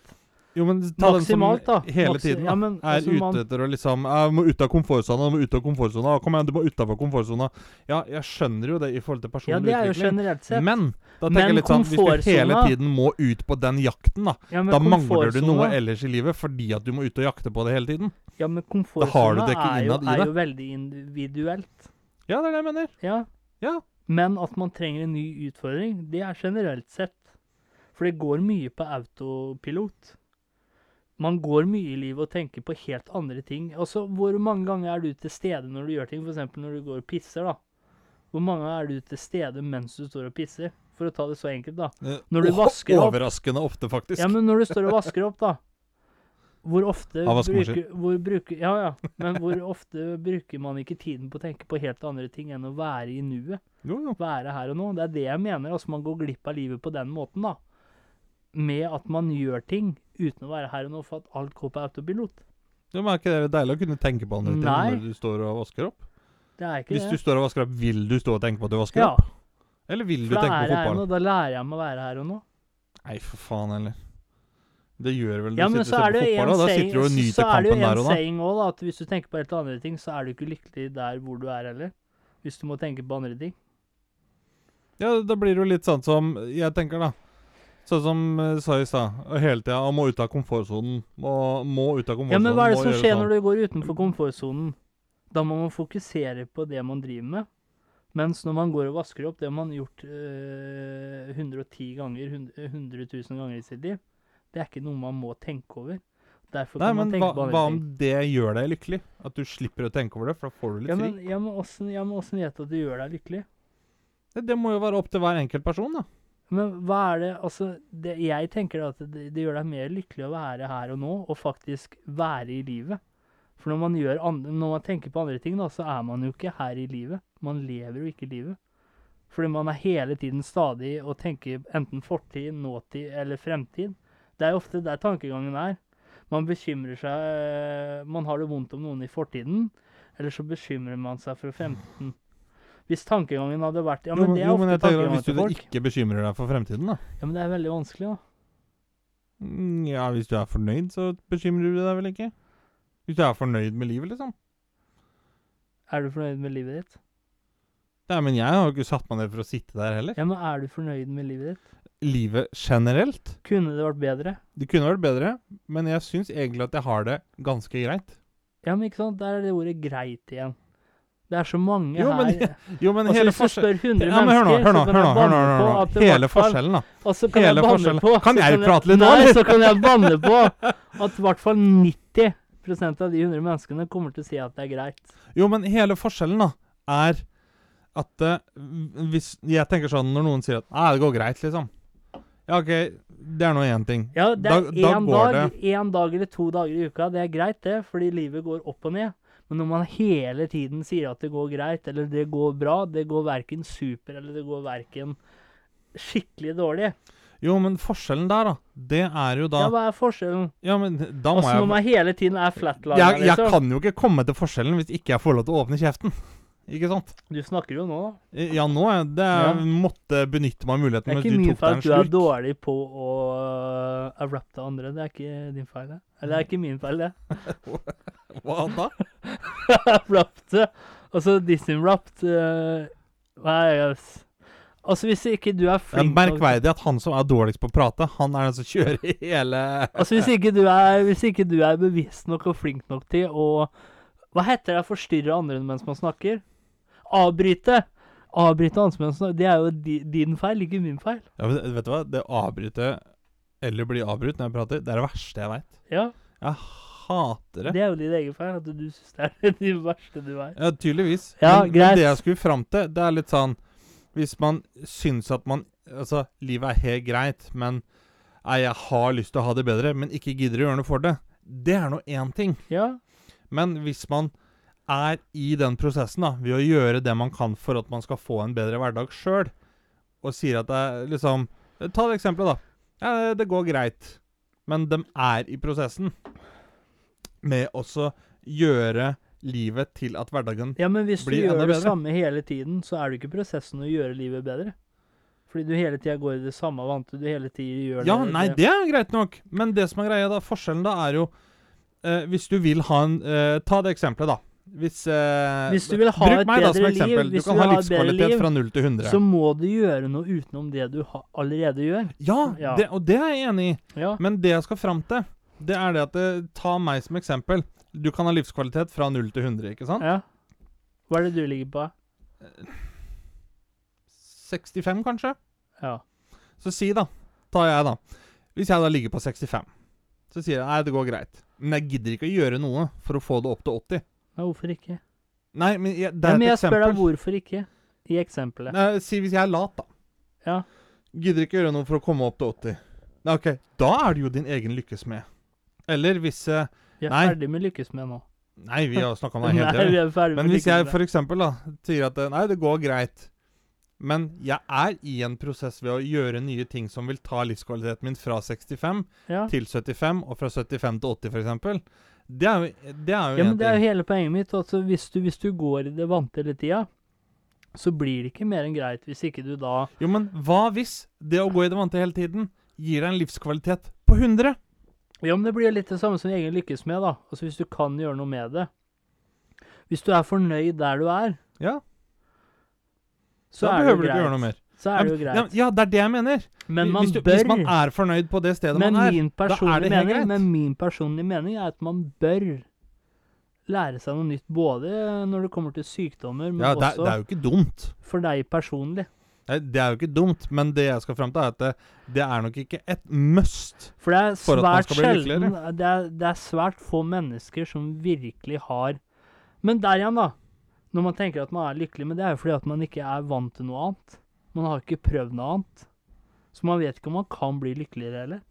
[SPEAKER 2] Jo, men ta den som
[SPEAKER 1] Maksimalt, da.
[SPEAKER 2] hele
[SPEAKER 1] Maxi-
[SPEAKER 2] tiden da,
[SPEAKER 1] ja, men,
[SPEAKER 2] er
[SPEAKER 1] altså,
[SPEAKER 2] ute
[SPEAKER 1] man-
[SPEAKER 2] etter å liksom «Jeg må ut av komfortsona, du må ut av komfortsona. Kom igjen, du må utafor komfortsona. Ja, jeg skjønner jo det i forhold til
[SPEAKER 1] Ja,
[SPEAKER 2] personlig
[SPEAKER 1] det er jo
[SPEAKER 2] utvikling.
[SPEAKER 1] generelt sett.
[SPEAKER 2] Men da
[SPEAKER 1] Men
[SPEAKER 2] tenker jeg litt sånn, hvis du hele
[SPEAKER 1] komfortsona-
[SPEAKER 2] tiden må ut på den jakten, da
[SPEAKER 1] ja, men
[SPEAKER 2] Da mangler du noe
[SPEAKER 1] komfortsona-
[SPEAKER 2] ellers i livet fordi at du må ut og jakte på det hele tiden.
[SPEAKER 1] Ja, men
[SPEAKER 2] har du
[SPEAKER 1] komfortsona
[SPEAKER 2] det ikke
[SPEAKER 1] er, jo-
[SPEAKER 2] innad i
[SPEAKER 1] er
[SPEAKER 2] deg.
[SPEAKER 1] jo veldig individuelt.
[SPEAKER 2] Ja, det er det jeg mener.
[SPEAKER 1] Ja.
[SPEAKER 2] Ja.
[SPEAKER 1] Men at man trenger en ny utfordring, det er generelt sett. For det går mye på autopilot. Man går mye i livet og tenker på helt andre ting. Altså, hvor mange ganger er du til stede når du gjør ting? F.eks. når du går og pisser, da. Hvor mange ganger er du til stede mens du står og pisser? For å ta det så enkelt, da.
[SPEAKER 2] Eh,
[SPEAKER 1] Når du
[SPEAKER 2] o-
[SPEAKER 1] vasker opp-
[SPEAKER 2] Overraskende ofte, faktisk.
[SPEAKER 1] Ja, men når du står og vasker opp, da. Hvor ofte,
[SPEAKER 2] Av
[SPEAKER 1] bruker,
[SPEAKER 2] vaskemaskin.
[SPEAKER 1] hvor, bruker, ja, ja. Men hvor ofte bruker man ikke tiden på å tenke på helt andre ting enn å være i nuet?
[SPEAKER 2] Jo, jo.
[SPEAKER 1] være her og nå. Det er det jeg mener. Altså, man går glipp av livet på den måten, da. med at man gjør ting uten å være her og nå for at alt går på autopilot.
[SPEAKER 2] Ja, men Er ikke det deilig å kunne tenke på andre ting
[SPEAKER 1] Nei.
[SPEAKER 2] når du står og vasker opp?
[SPEAKER 1] Det er ikke
[SPEAKER 2] Hvis du
[SPEAKER 1] det.
[SPEAKER 2] står og vasker opp, vil du stå og tenke på at du vasker
[SPEAKER 1] ja,
[SPEAKER 2] opp? Eller vil du
[SPEAKER 1] for da
[SPEAKER 2] tenke
[SPEAKER 1] er
[SPEAKER 2] på
[SPEAKER 1] jeg her nå.
[SPEAKER 2] fotballen?
[SPEAKER 1] Da lærer jeg meg å være her og nå.
[SPEAKER 2] Nei, for faen heller. Det gjør vel du
[SPEAKER 1] Ja, men
[SPEAKER 2] sitter
[SPEAKER 1] så
[SPEAKER 2] og
[SPEAKER 1] er
[SPEAKER 2] ser
[SPEAKER 1] det
[SPEAKER 2] på
[SPEAKER 1] jo en
[SPEAKER 2] fotballen, og da
[SPEAKER 1] saying,
[SPEAKER 2] sitter du og
[SPEAKER 1] så-
[SPEAKER 2] nyter
[SPEAKER 1] så er det jo
[SPEAKER 2] kampen
[SPEAKER 1] en
[SPEAKER 2] der og da.
[SPEAKER 1] saying også, da, at hvis du tenker på helt andre ting, så er du ikke lykkelig der hvor du er heller. Hvis du må tenke på andre ting.
[SPEAKER 2] Ja, da blir det jo litt sånn som jeg tenker, da. Sånn som eh, sa i stad. og Hele tida og må ut av komfortsonen. Må, må ut av komfortsonen.
[SPEAKER 1] Ja, men hva er det
[SPEAKER 2] må
[SPEAKER 1] som
[SPEAKER 2] gjøre
[SPEAKER 1] skjer
[SPEAKER 2] sånn.
[SPEAKER 1] når du går utenfor komfortsonen? Da må man fokusere på det man driver med. Mens når man går og vasker opp, det man har gjort eh, 110 ganger, hund- 100 000 ganger i sitt liv, det er ikke noe man må tenke over. Derfor
[SPEAKER 2] sånn. Nei,
[SPEAKER 1] kan man
[SPEAKER 2] men
[SPEAKER 1] tenke
[SPEAKER 2] hva,
[SPEAKER 1] på andre
[SPEAKER 2] hva
[SPEAKER 1] ting.
[SPEAKER 2] om det gjør deg lykkelig? At du slipper å tenke over det, for da får du litt
[SPEAKER 1] Ja,
[SPEAKER 2] fri.
[SPEAKER 1] men, ja, men åssen ja, men åssen vet du at det gjør deg lykkelig?
[SPEAKER 2] Det, det må jo være opp til hver enkelt person, da.
[SPEAKER 1] Men hva er det Altså, det, jeg tenker at det, det gjør deg mer lykkelig å være her og nå, og faktisk være i livet. For når man, gjør andre, når man tenker på andre ting, da, så er man jo ikke her i livet. Man lever jo ikke livet. Fordi man er hele tiden stadig og tenker enten fortid, nåtid eller fremtid. Det er jo ofte der tankegangen er. Man bekymrer seg eh, Man har det vondt om noen i fortiden, eller så bekymrer man seg for fremtiden. Hvis tankegangen hadde vært Ja, men det er
[SPEAKER 2] jo,
[SPEAKER 1] ofte
[SPEAKER 2] men jeg tenker at
[SPEAKER 1] tankegangen
[SPEAKER 2] Hvis du
[SPEAKER 1] til folk.
[SPEAKER 2] ikke bekymrer deg for fremtiden, da
[SPEAKER 1] Ja, men det er veldig vanskelig, da.
[SPEAKER 2] Mm, Ja, hvis du er fornøyd, så bekymrer du deg vel ikke? Hvis du er fornøyd med livet, liksom.
[SPEAKER 1] Er du fornøyd med livet ditt?
[SPEAKER 2] Nei, men jeg har jo ikke satt meg ned for å sitte der heller.
[SPEAKER 1] Ja, men er du fornøyd med livet ditt?
[SPEAKER 2] Livet generelt
[SPEAKER 1] Kunne det vært bedre?
[SPEAKER 2] Det kunne vært bedre, men jeg syns egentlig at jeg har det ganske greit.
[SPEAKER 1] Ja, men ikke sant? Der er det ordet 'greit' igjen. Det er så mange
[SPEAKER 2] Jo, men-
[SPEAKER 1] her.
[SPEAKER 2] Jo, men
[SPEAKER 1] altså,
[SPEAKER 2] hele
[SPEAKER 1] hvis du
[SPEAKER 2] forskjellen
[SPEAKER 1] spør 100
[SPEAKER 2] ja, men Hør nå,
[SPEAKER 1] mennesker,
[SPEAKER 2] hør
[SPEAKER 1] så
[SPEAKER 2] nå,
[SPEAKER 1] kan
[SPEAKER 2] hør nå,
[SPEAKER 1] jeg
[SPEAKER 2] hør nå,
[SPEAKER 1] banne
[SPEAKER 2] hør
[SPEAKER 1] på
[SPEAKER 2] nå.
[SPEAKER 1] at det i
[SPEAKER 2] Hele
[SPEAKER 1] hvert fall-
[SPEAKER 2] forskjellen, da.
[SPEAKER 1] og så kan jeg
[SPEAKER 2] hele
[SPEAKER 1] banne
[SPEAKER 2] forskjellen.
[SPEAKER 1] på-
[SPEAKER 2] Kan
[SPEAKER 1] så
[SPEAKER 2] jeg prate litt nå,
[SPEAKER 1] Nei,
[SPEAKER 2] eller?
[SPEAKER 1] så kan jeg banne på at i hvert fall 90 av de 100 menneskene kommer til å si at det er greit.
[SPEAKER 2] Jo, men hele forskjellen da, er at eh, hvis Jeg tenker sånn når noen sier at «Nei, det går greit, liksom. Ja, OK, det er nå én ting.
[SPEAKER 1] Ja, det er
[SPEAKER 2] Da- da
[SPEAKER 1] én
[SPEAKER 2] går
[SPEAKER 1] dag, en dag eller to dager i uka. Det er greit, det, fordi livet går opp og ned. Men når man hele tiden sier at det går greit, eller det går bra, det går verken super, eller det går verken skikkelig dårlig
[SPEAKER 2] Jo, men forskjellen der, da, det er jo da
[SPEAKER 1] Ja, hva er forskjellen?
[SPEAKER 2] Ja, men da må
[SPEAKER 1] Åssen når
[SPEAKER 2] jeg
[SPEAKER 1] man hele tiden er flatliner,
[SPEAKER 2] jeg, jeg
[SPEAKER 1] liksom?
[SPEAKER 2] kan jo ikke komme til forskjellen hvis ikke jeg får lov til å åpne kjeften. Ikke sant?
[SPEAKER 1] Du snakker jo nå, da.
[SPEAKER 2] Eh, Ja, nå er det
[SPEAKER 1] Ja.
[SPEAKER 2] måtte benytte
[SPEAKER 1] Det
[SPEAKER 2] meg av muligheten
[SPEAKER 1] er
[SPEAKER 2] mens
[SPEAKER 1] ikke
[SPEAKER 2] du
[SPEAKER 1] min
[SPEAKER 2] tok
[SPEAKER 1] feil
[SPEAKER 2] deg
[SPEAKER 1] at du er
[SPEAKER 2] en slurk.
[SPEAKER 1] dårlig på å uh, rappe til andre. Det er ikke din feil, det. Eller det er ikke min feil, det.
[SPEAKER 2] Hva da?
[SPEAKER 1] rappte. Altså Disney rapped eh, Nei, yes. Altså, hvis ikke du er
[SPEAKER 2] Det er
[SPEAKER 1] flink nok
[SPEAKER 2] merkverdig at han som er dårligst på å prate, han er den som kjører hele
[SPEAKER 1] Altså, hvis ikke du er, hvis ikke du er bevisst nok og flink nok til å Hva heter det? Forstyrre andre mens man snakker? Avbryte. Avbryte andre mens man snakker. Det er jo di, din feil, ikke min feil.
[SPEAKER 2] Ja, men vet du hva? Det å avbryte eller bli avbrutt når jeg prater, det er det verste jeg veit.
[SPEAKER 1] Ja,
[SPEAKER 2] Jeg hater det.
[SPEAKER 1] Det er jo din egen feil at du syns det er det verste du er.
[SPEAKER 2] Ja, tydeligvis.
[SPEAKER 1] Ja,
[SPEAKER 2] men,
[SPEAKER 1] greit.
[SPEAKER 2] men det jeg skulle fram til, det er litt sånn Hvis man syns at man Altså, livet er helt greit, men Nei, jeg har lyst til å ha det bedre, men ikke gidder å gjøre noe for det. Det er nå én ting.
[SPEAKER 1] Ja,
[SPEAKER 2] Men hvis man er i den prosessen, da, ved å gjøre det man kan for at man skal få en bedre hverdag sjøl, og sier at det er liksom Ta det eksempelet, da. Ja, det går greit, men de er i prosessen med også gjøre livet til at hverdagen
[SPEAKER 1] ja men hvis du
[SPEAKER 2] Blir enda
[SPEAKER 1] gjør det
[SPEAKER 2] bedre.
[SPEAKER 1] samme hele tiden, så er det ikke prosessen å gjøre livet bedre. Fordi du hele tida går i det samme vante, du hele tida gjør
[SPEAKER 2] Ja,
[SPEAKER 1] det
[SPEAKER 2] nei, det er jo greit nok, men det som er greia da, forskjellen da, er jo eh, Hvis du vil ha en eh, Ta det eksempelet, da. Hvis, eh,
[SPEAKER 1] Hvis du vil ha
[SPEAKER 2] Bruk
[SPEAKER 1] et
[SPEAKER 2] meg da som
[SPEAKER 1] bedre liv,
[SPEAKER 2] eksempel.
[SPEAKER 1] hvis
[SPEAKER 2] du kan
[SPEAKER 1] du
[SPEAKER 2] ha
[SPEAKER 1] vil ha et bedre
[SPEAKER 2] livskvalitet
[SPEAKER 1] liv,
[SPEAKER 2] fra 0 til 100.
[SPEAKER 1] så må du gjøre noe utenom det du ha, allerede gjør.
[SPEAKER 2] ja,
[SPEAKER 1] Ja.
[SPEAKER 2] Det, og det er jeg enig i.
[SPEAKER 1] Ja.
[SPEAKER 2] Men det jeg skal fram til, det er det at eh, Ta meg som eksempel. Du kan ha livskvalitet fra 0 til 100, ikke sant?
[SPEAKER 1] ja. Hva er det du ligger på?
[SPEAKER 2] 65, kanskje?
[SPEAKER 1] Ja.
[SPEAKER 2] Så si, da. Tar jeg, da. Hvis jeg da ligger på 65, så sier jeg nei, det går greit. Men jeg gidder ikke å gjøre noe for å få det opp til 80.
[SPEAKER 1] Nei, hvorfor ikke?
[SPEAKER 2] Nei, men jeg, det
[SPEAKER 1] Ja,
[SPEAKER 2] er
[SPEAKER 1] men
[SPEAKER 2] et
[SPEAKER 1] jeg spør deg
[SPEAKER 2] eksempel.
[SPEAKER 1] hvorfor ikke, i eksempelet.
[SPEAKER 2] Nei, si hvis jeg er lat, da.
[SPEAKER 1] Ja.
[SPEAKER 2] Gidder ikke gjøre noe for å komme opp til 80. Nei, ok. Da er det jo din egen lykkesmed. Eller hvis eh,
[SPEAKER 1] Vi er
[SPEAKER 2] Nei.
[SPEAKER 1] ferdig med lykkes med nå.
[SPEAKER 2] Nei, vi har snakka om det hele
[SPEAKER 1] Nei, vi
[SPEAKER 2] tida.
[SPEAKER 1] er ferdig
[SPEAKER 2] Men
[SPEAKER 1] med
[SPEAKER 2] hvis jeg
[SPEAKER 1] lykkes med.
[SPEAKER 2] f.eks. sier at eh, nei, det går greit, Men jeg er i en prosess ved å gjøre nye ting som vil ta livskvaliteten min fra 65
[SPEAKER 1] Ja.
[SPEAKER 2] til 75, og fra 75 til 80 f.eks. Det er jo det er jo
[SPEAKER 1] ja,
[SPEAKER 2] en
[SPEAKER 1] men det er
[SPEAKER 2] ting.
[SPEAKER 1] jo hele poenget mitt. Altså, hvis, du, hvis du går i det vante hele tida, så blir det ikke mer enn greit hvis ikke du da
[SPEAKER 2] Jo, men hva hvis det å gå i det vante hele tiden gir deg en livskvalitet på 100?
[SPEAKER 1] Ja, men det blir jo litt det samme som egen lykkes med, da. Altså hvis du kan gjøre noe med det. Hvis du er fornøyd der du er,
[SPEAKER 2] Ja,
[SPEAKER 1] så
[SPEAKER 2] da
[SPEAKER 1] er det jo
[SPEAKER 2] behøver du
[SPEAKER 1] greit.
[SPEAKER 2] ikke gjøre noe mer.
[SPEAKER 1] Så er det jo
[SPEAKER 2] Ja, men-
[SPEAKER 1] greit.
[SPEAKER 2] Ja, det er det jeg mener.
[SPEAKER 1] Men man
[SPEAKER 2] hvis, du,
[SPEAKER 1] bør
[SPEAKER 2] hvis man er fornøyd på det stedet
[SPEAKER 1] men
[SPEAKER 2] man er
[SPEAKER 1] min personlige
[SPEAKER 2] det helt
[SPEAKER 1] mening,
[SPEAKER 2] greit.
[SPEAKER 1] men min personlige mening er at man bør lære seg noe nytt, både når det kommer til sykdommer, men
[SPEAKER 2] Ja, det, er-
[SPEAKER 1] også
[SPEAKER 2] det er jo ikke dumt.
[SPEAKER 1] for deg personlig.
[SPEAKER 2] Nei, Det er jo ikke dumt, men det jeg skal fram til, er at det, det er nok ikke et must.
[SPEAKER 1] For det er
[SPEAKER 2] For at man
[SPEAKER 1] svært
[SPEAKER 2] skal bli
[SPEAKER 1] sjelden det er, det er svært få mennesker som virkelig har Men der igjen, da. Når man tenker at man er lykkelig, men det er jo fordi at man ikke er vant til noe annet. Man har ikke prøvd noe annet. Så man vet ikke om man kan bli lykkeligere heller.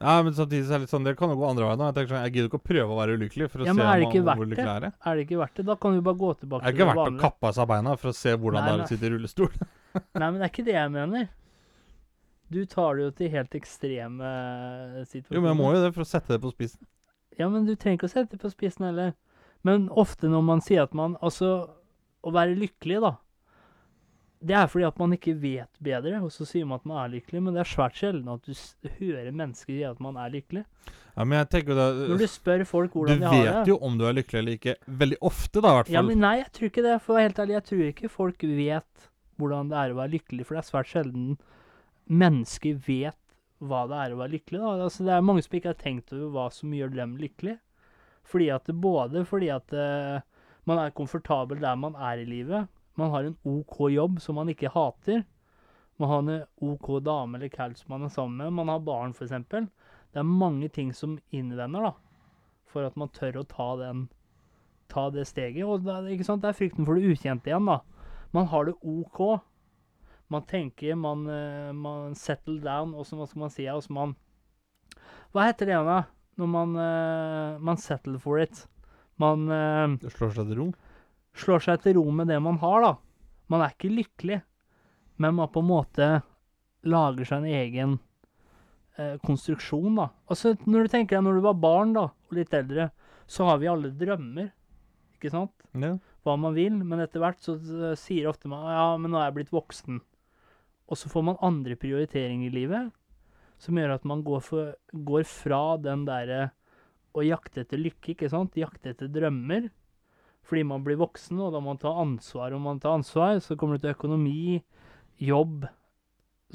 [SPEAKER 2] Ja, men samtidig så er det litt sånn, det kan jo gå andre veien. også. Jeg tenker sånn, jeg gidder ikke å prøve å være ulykkelig for å
[SPEAKER 1] Ja,
[SPEAKER 2] se
[SPEAKER 1] men er det ikke
[SPEAKER 2] om,
[SPEAKER 1] verdt
[SPEAKER 2] hvor
[SPEAKER 1] det?
[SPEAKER 2] lykkelig jeg er.
[SPEAKER 1] Er det ikke verdt det? Da kan du bare gå tilbake
[SPEAKER 2] Det er ikke
[SPEAKER 1] til det
[SPEAKER 2] verdt å
[SPEAKER 1] vanlige.
[SPEAKER 2] kappe av seg beina for å se hvordan
[SPEAKER 1] Nei,
[SPEAKER 2] det er å sitte i rullestol.
[SPEAKER 1] Nei, men det er ikke det jeg mener. Du tar det jo til helt ekstreme eh, situasjoner.
[SPEAKER 2] Jo, men jeg må jo det for å sette det på spissen.
[SPEAKER 1] Ja, men du trenger ikke å sette det på spissen heller. Men ofte når man sier at man Altså, å være lykkelig, da. Det er fordi at man ikke vet bedre, og så sier man at man er lykkelig, men det er svært sjelden at du s hører mennesker si at man er lykkelig.
[SPEAKER 2] Ja, men jeg tenker jo
[SPEAKER 1] Når
[SPEAKER 2] det,
[SPEAKER 1] du spør folk
[SPEAKER 2] Øh. Du
[SPEAKER 1] hvordan de har det
[SPEAKER 2] vet jo om du er lykkelig eller ikke. Veldig ofte, da, i hvert
[SPEAKER 1] Ja,
[SPEAKER 2] fall.
[SPEAKER 1] men nei, jeg tror ikke det. For å være helt ærlig, jeg tror ikke folk vet hvordan det er å være lykkelig, for det er svært sjelden mennesker vet hva det er å være lykkelig. Da. Altså, det er mange som ikke har tenkt over hva som gjør dem lykkelig. Fordi at det både fordi at eh, man er komfortabel der man er i livet, man har en OK jobb som man ikke hater, man har en OK dame eller kall som man er sammen med, man har barn f.eks. Det er mange ting som innvender da, for at man tør å ta den ta det steget. Og da, ikke sant? det er frykten for det ukjente igjen, da. Man har det OK. Man tenker, man, eh, man settle down, og så hva skal man si, og så man Hva heter det igjen, da? Når man, eh, man settle for it. Man eh,
[SPEAKER 2] Det slår seg til ro.
[SPEAKER 1] slår seg til ro med det man har, da. Man er ikke lykkelig, men man på en måte lager seg en egen eh, konstruksjon, da. Altså, når du tenker deg når du var barn, da, og litt eldre, så har vi alle drømmer, ikke sant?
[SPEAKER 2] Ja.
[SPEAKER 1] hva man vil, men etter hvert så eh, sier ofte man ja, men nå er jeg blitt voksen. Og så får man andre prioriteringer i livet som gjør at man går, for, går fra den derre å jakte etter lykke, ikke sant, jakte etter drømmer. Fordi man blir voksen, og da må man ta ansvar. Om man tar ansvar, så kommer det til økonomi, jobb,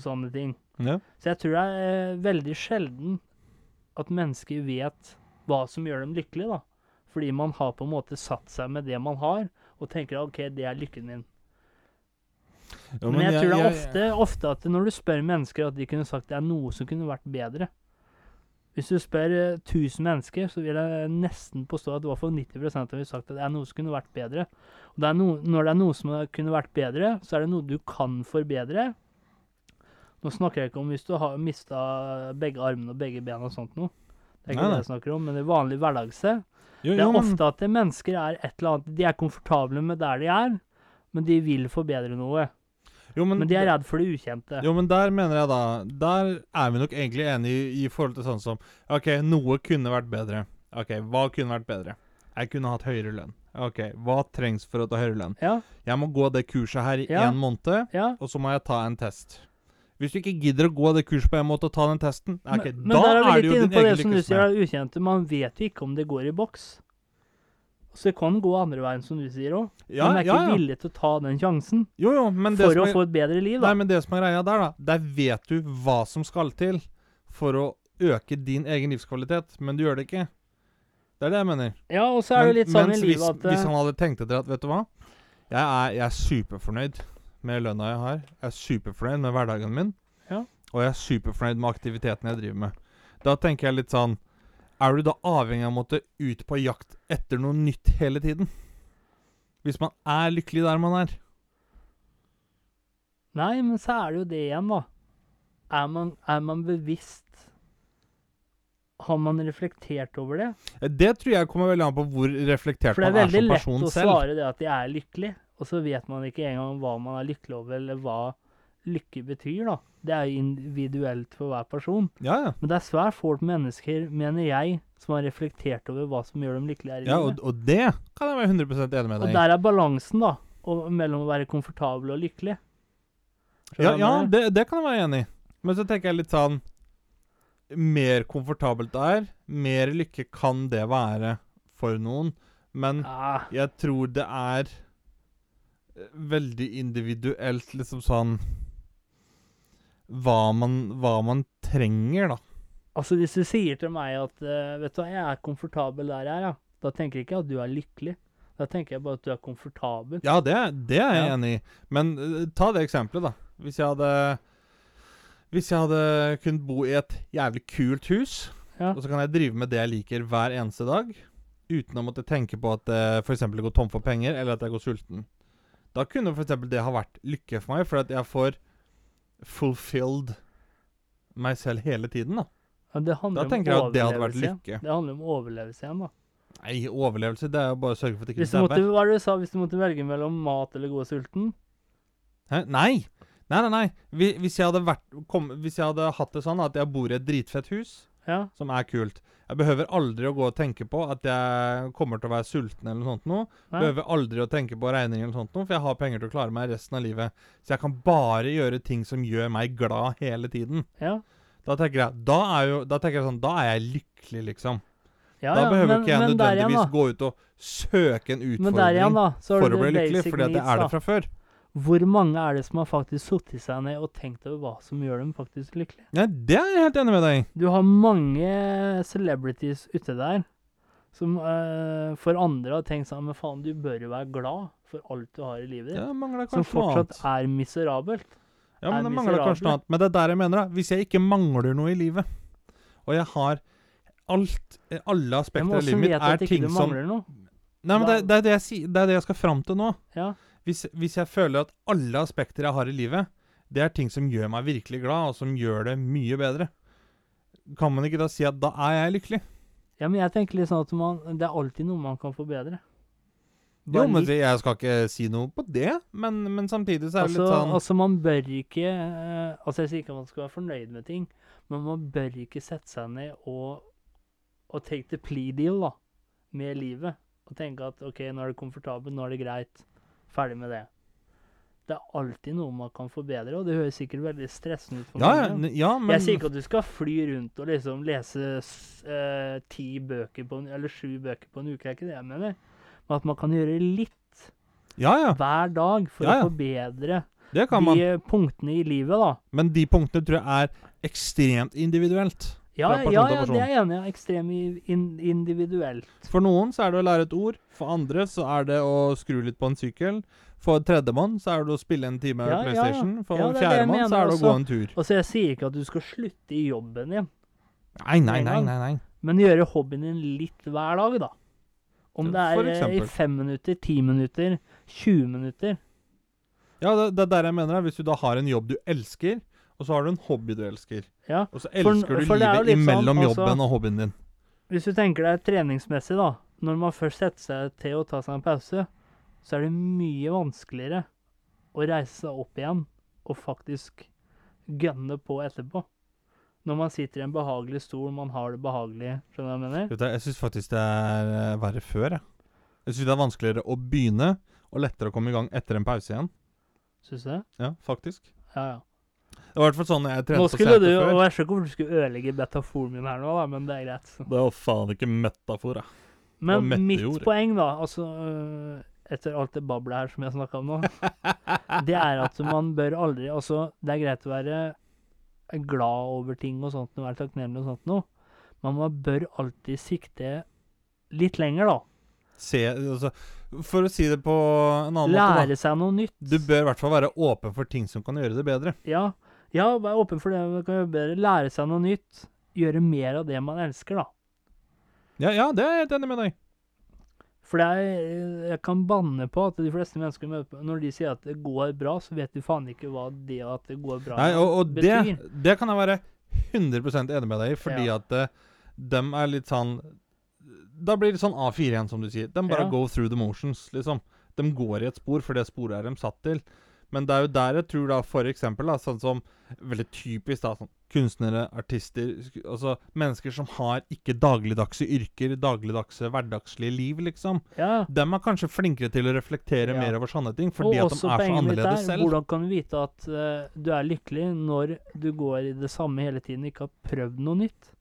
[SPEAKER 1] sånne ting.
[SPEAKER 2] Ja.
[SPEAKER 1] Så jeg tror det er eh, veldig sjelden at mennesker vet hva som gjør dem lykkelige, da. Fordi man har på en måte satt seg med det man har, og tenker OK, det er lykken min.
[SPEAKER 2] Jo,
[SPEAKER 1] men, jeg, tror det er ofte, ofte at når du spør mennesker at de kunne sagt det er noe som kunne vært bedre. Hvis du spør eh, 1000 mennesker, så vil jeg nesten påstå at i hvert fall 90 av dem vil sagt at det er noe som kunne vært bedre. Og det er noe- når det er noe som kunne vært bedre, så er det noe du kan forbedre. Nå snakker jeg ikke om hvis du har mista begge armene og begge bena og sånt noe. Det er ikke
[SPEAKER 2] Nei, nei.
[SPEAKER 1] det jeg snakker om, men det er vanlig hverdagse.
[SPEAKER 2] Jo,
[SPEAKER 1] Det
[SPEAKER 2] jo,
[SPEAKER 1] er
[SPEAKER 2] men-
[SPEAKER 1] ofte at det mennesker er et eller annet De er komfortable med der de er, men de vil forbedre noe.
[SPEAKER 2] jo,
[SPEAKER 1] Men de er redd for det ukjente.
[SPEAKER 2] Jo, men der mener jeg da Der er vi nok egentlig enige i, i forhold til sånn som OK, noe kunne vært bedre. OK, hva kunne vært bedre? Jeg kunne hatt høyere lønn. OK, hva trengs for å ta høyere lønn?
[SPEAKER 1] Ja,
[SPEAKER 2] Jeg må gå det kurset her i
[SPEAKER 1] Ja.
[SPEAKER 2] én måned,
[SPEAKER 1] ja.
[SPEAKER 2] og så må jeg ta en test. Hvis du ikke gidder å gå det kurset på en måte og ta den testen,
[SPEAKER 1] Men,
[SPEAKER 2] ok,
[SPEAKER 1] men
[SPEAKER 2] da
[SPEAKER 1] der er vi
[SPEAKER 2] er det
[SPEAKER 1] litt
[SPEAKER 2] jo
[SPEAKER 1] inne
[SPEAKER 2] din
[SPEAKER 1] på det
[SPEAKER 2] egen
[SPEAKER 1] som du sier,
[SPEAKER 2] lykkesmed.
[SPEAKER 1] er ukjente. Man vet jo ikke om det går i boks. Så det kan gå andre veien, som du sier òg.
[SPEAKER 2] Ja,
[SPEAKER 1] man er
[SPEAKER 2] ja,
[SPEAKER 1] ikke
[SPEAKER 2] ja.
[SPEAKER 1] villig til å ta den sjansen
[SPEAKER 2] Jo, jo, men det
[SPEAKER 1] for
[SPEAKER 2] som
[SPEAKER 1] å
[SPEAKER 2] er,
[SPEAKER 1] få et bedre liv,
[SPEAKER 2] Nei,
[SPEAKER 1] da.
[SPEAKER 2] men det som er greia der, da Der vet du hva som skal til for å øke din egen livskvalitet, men du gjør det ikke. Det er det jeg mener.
[SPEAKER 1] Ja, og så er det litt
[SPEAKER 2] Men-
[SPEAKER 1] sånn i
[SPEAKER 2] mens hvis,
[SPEAKER 1] livet at
[SPEAKER 2] Hvis
[SPEAKER 1] eh,
[SPEAKER 2] han hadde tenkt etter at Vet du hva? Jeg er, jeg er superfornøyd med lønna jeg har. Jeg er superfornøyd med hverdagen min.
[SPEAKER 1] Ja.
[SPEAKER 2] Og jeg er superfornøyd med aktiviteten jeg driver med. Da tenker jeg litt sånn Er du da avhengig av å måtte ut på jakt etter noe nytt hele tiden? Hvis man er lykkelig der man er.
[SPEAKER 1] Nei, men så er det jo det igjen, da. Er man, er man bevisst Har man reflektert over det?
[SPEAKER 2] Eh, Det tror jeg kommer veldig an på hvor reflektert
[SPEAKER 1] For det
[SPEAKER 2] man
[SPEAKER 1] er
[SPEAKER 2] er
[SPEAKER 1] veldig
[SPEAKER 2] som
[SPEAKER 1] lett
[SPEAKER 2] person
[SPEAKER 1] å
[SPEAKER 2] selv.
[SPEAKER 1] svare det at jeg er lykkelig, og så vet man ikke engang hva man er lykkelig over, eller hva lykke betyr, da. Det er jo individuelt for hver person.
[SPEAKER 2] Ja, ja.
[SPEAKER 1] Men det er svært få mennesker, mener jeg, som har reflektert over hva som gjør dem lykkelige her i
[SPEAKER 2] ja
[SPEAKER 1] livet.
[SPEAKER 2] og, og det kan jeg være 100 enig
[SPEAKER 1] Og
[SPEAKER 2] med deg i.
[SPEAKER 1] der er balansen, da, og, mellom å være komfortabel og lykkelig. Skjønner du hva
[SPEAKER 2] Ja,
[SPEAKER 1] jeg
[SPEAKER 2] ja
[SPEAKER 1] mener?
[SPEAKER 2] det, det kan jeg være enig i. Men så tenker jeg litt sånn Mer komfortabelt det er, mer lykke kan det være for noen. Men
[SPEAKER 1] Ah,
[SPEAKER 2] jeg tror det er eh, veldig individuelt, liksom sånn Hva man, hva man trenger, da.
[SPEAKER 1] altså, hvis du sier til meg at eh, Vet du hva, jeg er komfortabel der jeg er, ja. Da tenker jeg ikke at du er lykkelig. Da tenker jeg bare at du er komfortabel.
[SPEAKER 2] Ja, det, det er jeg
[SPEAKER 1] Ja.
[SPEAKER 2] enig i. Men eh, ta det eksempelet, da. Hvis jeg hadde Hvis jeg hadde kunnet bo i et jævlig kult hus,
[SPEAKER 1] Ja.
[SPEAKER 2] og så kan jeg drive med det jeg liker hver eneste dag, uten å måtte tenke på at eh, for f.eks. går tom for penger, eller at jeg går sulten. Da kunne f.eks. det ha vært lykke for meg, for at jeg får fulfilled meg selv hele tiden, da.
[SPEAKER 1] Ja, Det handler
[SPEAKER 2] Da
[SPEAKER 1] om
[SPEAKER 2] tenker jeg at det hadde vært
[SPEAKER 1] overlevelse igjen.
[SPEAKER 2] lykke.
[SPEAKER 1] Det handler om overlevelse igjen, da.
[SPEAKER 2] Nei, overlevelse, det er jo bare å sørge for at det
[SPEAKER 1] Hvis
[SPEAKER 2] ikke
[SPEAKER 1] du, måtte,
[SPEAKER 2] dabber.
[SPEAKER 1] hva var det du sa, hvis du måtte velge mellom mat eller gå sulten
[SPEAKER 2] Hæ? Nei! Nei, nei, nei. Hvi- Hvis jeg hadde, vært, kom, hvis jeg hadde hatt det sånn at jeg bor i et dritfett hus,
[SPEAKER 1] Ja,
[SPEAKER 2] som er kult. Jeg behøver aldri å gå og tenke på at jeg kommer til å være sulten eller noe sånt nå.
[SPEAKER 1] Nei.
[SPEAKER 2] Behøver aldri å tenke på regning eller sånt noe, for jeg har penger til å klare meg resten av livet. Så jeg kan bare gjøre ting som gjør meg glad hele tiden.
[SPEAKER 1] ja.
[SPEAKER 2] Da tenker jeg, da er jo, da tenker jeg sånn, da er jeg lykkelig, liksom.
[SPEAKER 1] ja
[SPEAKER 2] da
[SPEAKER 1] ja,
[SPEAKER 2] behøver
[SPEAKER 1] men-
[SPEAKER 2] ikke jeg
[SPEAKER 1] men der igjen,
[SPEAKER 2] nødvendigvis
[SPEAKER 1] da.
[SPEAKER 2] gå ut og søke en
[SPEAKER 1] Men der igjen,
[SPEAKER 2] utfordring
[SPEAKER 1] da, så har
[SPEAKER 2] for
[SPEAKER 1] du
[SPEAKER 2] å bli
[SPEAKER 1] det
[SPEAKER 2] lykkelig,
[SPEAKER 1] basic
[SPEAKER 2] fordi at jeg
[SPEAKER 1] needs,
[SPEAKER 2] er
[SPEAKER 1] da.
[SPEAKER 2] det fra før.
[SPEAKER 1] Hvor mange er det som har faktisk sittet seg ned og tenkt over hva som gjør dem faktisk lykkelige?
[SPEAKER 2] Nei, det er jeg helt enig med deg i.
[SPEAKER 1] Du har mange celebrities ute der som eh, for andre har tenkt sånn Men faen, du bør jo være glad for alt du har i livet ditt.
[SPEAKER 2] Det mangler
[SPEAKER 1] som
[SPEAKER 2] kanskje noe annet.
[SPEAKER 1] fortsatt er miserabelt.
[SPEAKER 2] Ja,
[SPEAKER 1] er
[SPEAKER 2] men det mangler kanskje noe
[SPEAKER 1] miserable.
[SPEAKER 2] annet. Men det er der jeg mener, da. Hvis jeg ikke mangler noe i livet, og jeg har alt eh, Alle
[SPEAKER 1] Men
[SPEAKER 2] aspekter
[SPEAKER 1] åssen
[SPEAKER 2] av livet mitt
[SPEAKER 1] vet du
[SPEAKER 2] er
[SPEAKER 1] at ikke
[SPEAKER 2] ting
[SPEAKER 1] du
[SPEAKER 2] som
[SPEAKER 1] mangler noe?
[SPEAKER 2] Nei, men det,
[SPEAKER 1] Da-
[SPEAKER 2] det, er det, jeg, sier- det er det jeg skal fram til nå.
[SPEAKER 1] Ja.
[SPEAKER 2] Hvis, hvis jeg føler at alle aspekter jeg har i livet, det er ting som gjør meg virkelig glad, og som gjør det mye bedre, kan man ikke da si at da er jeg lykkelig?
[SPEAKER 1] ja, men jeg tenker litt sånn at man, det er alltid noe man kan forbedre.
[SPEAKER 2] Jo,
[SPEAKER 1] Bare
[SPEAKER 2] men
[SPEAKER 1] litt.
[SPEAKER 2] det- jeg skal ikke si noe på det, men, men samtidig så er det
[SPEAKER 1] Altså,
[SPEAKER 2] litt sånn
[SPEAKER 1] altså, man bør ikke eh, Altså, jeg sier ikke at man skal være fornøyd med ting, men man bør ikke sette seg ned og, og take the plea deal, da, med livet. Og tenke at OK, nå er det komfortabelt, nå er det greit. Ferdig med det. Det er alltid noe man kan forbedre, og det høres sikkert veldig stressende ut for
[SPEAKER 2] ja, ja,
[SPEAKER 1] mange.
[SPEAKER 2] n- ja, men
[SPEAKER 1] altså, jeg sier ikke at du skal fly rundt og liksom lese s- eh, ti bøker på en, eller sju bøker på en uke, det er ikke det jeg mener. Men at man kan gjøre litt
[SPEAKER 2] Ja, ja,
[SPEAKER 1] hver dag for
[SPEAKER 2] Ja, ja.
[SPEAKER 1] å forbedre
[SPEAKER 2] det kan man.
[SPEAKER 1] de punktene i livet, da.
[SPEAKER 2] Men de punktene tror jeg er ekstremt individuelt.
[SPEAKER 1] Ja,
[SPEAKER 2] Fra person
[SPEAKER 1] ja, ja
[SPEAKER 2] til
[SPEAKER 1] det
[SPEAKER 2] person.
[SPEAKER 1] er jeg enig i. Ekstremt i- in individuelt.
[SPEAKER 2] For noen så er det å lære et ord, for andre så er det å skru litt på en sykkel. For tredjemann så er det å spille en time
[SPEAKER 1] Ja, ja, ja.
[SPEAKER 2] PlayStation. For
[SPEAKER 1] Ja, det er det jeg
[SPEAKER 2] fjerdemann så er det å
[SPEAKER 1] mener
[SPEAKER 2] gå
[SPEAKER 1] også.
[SPEAKER 2] en tur.
[SPEAKER 1] Altså, jeg sier ikke at du skal slutte i jobben din,
[SPEAKER 2] Nei, nei,
[SPEAKER 1] Med en
[SPEAKER 2] nei,
[SPEAKER 1] gang.
[SPEAKER 2] nei. nei.
[SPEAKER 1] men gjøre hobbyen din litt hver dag, da. Om det
[SPEAKER 2] For
[SPEAKER 1] er eh, i
[SPEAKER 2] eksempel.
[SPEAKER 1] fem minutter, ti minutter, 20 minutter.
[SPEAKER 2] Ja, det, det er der jeg mener. da. Hvis du da har en jobb du elsker, og så har du en hobby du elsker.
[SPEAKER 1] Ja.
[SPEAKER 2] Og så
[SPEAKER 1] For-
[SPEAKER 2] elsker du
[SPEAKER 1] for det er jo litt
[SPEAKER 2] livet
[SPEAKER 1] sånn,
[SPEAKER 2] imellom
[SPEAKER 1] altså-
[SPEAKER 2] jobben og hobbyen din.
[SPEAKER 1] Hvis du tenker deg treningsmessig, da. Når man først setter seg til å ta seg en pause, så er det mye vanskeligere å reise seg opp igjen og faktisk gønne på etterpå. Når man sitter i en behagelig stol, man har det behagelig. Skjønner du hva jeg mener?
[SPEAKER 2] Vet du, jeg syns faktisk det er eh, verre før, jeg. Jeg syns det er vanskeligere å begynne, og lettere å komme i gang etter en pause igjen.
[SPEAKER 1] Syns du det?
[SPEAKER 2] Ja, faktisk.
[SPEAKER 1] Ja, ja.
[SPEAKER 2] Det var i hvert fall sånn jeg
[SPEAKER 1] Nå
[SPEAKER 2] trente på
[SPEAKER 1] skulle du,
[SPEAKER 2] setet
[SPEAKER 1] og
[SPEAKER 2] før.
[SPEAKER 1] jeg skjønner ikke hvorfor du skulle ødelegge metaforen min her nå, da, men det er greit.
[SPEAKER 2] Det var faen ikke metafor, jeg.
[SPEAKER 1] Men
[SPEAKER 2] mette
[SPEAKER 1] mitt
[SPEAKER 2] gjorde.
[SPEAKER 1] poeng, da, altså øh, etter alt det bablet her som jeg snakka om nå, det er at man bør aldri Altså, det er greit å være glad over ting og sånt, og være takknemlig og sånt noe, men man bør alltid sikte litt lenger, da.
[SPEAKER 2] Se, altså, for å si det på en annen måte,
[SPEAKER 1] Lære seg noe nytt.
[SPEAKER 2] da. Du bør i hvert fall være åpen for ting som kan gjøre det bedre.
[SPEAKER 1] Ja, ja vær åpen for det man kan gjøre bedre. Lære seg noe nytt. Gjøre mer av det man elsker, da.
[SPEAKER 2] Ja, ja det er jeg helt enig med deg
[SPEAKER 1] For det er, jeg kan banne på at de fleste mennesker møter på, når de sier at det går bra, så vet de faen ikke hva det at det går bra
[SPEAKER 2] Nei, og, og det,
[SPEAKER 1] betyr.
[SPEAKER 2] det kan jeg være 100 enig med deg i, fordi
[SPEAKER 1] Ja.
[SPEAKER 2] at eh, dem er litt sånn Da blir det sånn A4 igjen, som du sier. De bare
[SPEAKER 1] Ja.
[SPEAKER 2] go through the motions, liksom. De går i et spor, for det sporet er de satt til. Men det er jo der jeg tror da, for eksempel, da, sånn som veldig typisk da, sånn kunstnere, artister sk- Altså mennesker som har ikke dagligdagse yrker, dagligdagse, hverdagslige liv, liksom.
[SPEAKER 1] Ja.
[SPEAKER 2] Dem er kanskje flinkere til å reflektere
[SPEAKER 1] Ja.
[SPEAKER 2] mer over sånne ting, fordi at de er så
[SPEAKER 1] poenget mitt
[SPEAKER 2] annerledes
[SPEAKER 1] er,
[SPEAKER 2] selv.
[SPEAKER 1] Hvordan kan du vite at eh, du er lykkelig når du går i det samme hele tiden, ikke har prøvd noe nytt?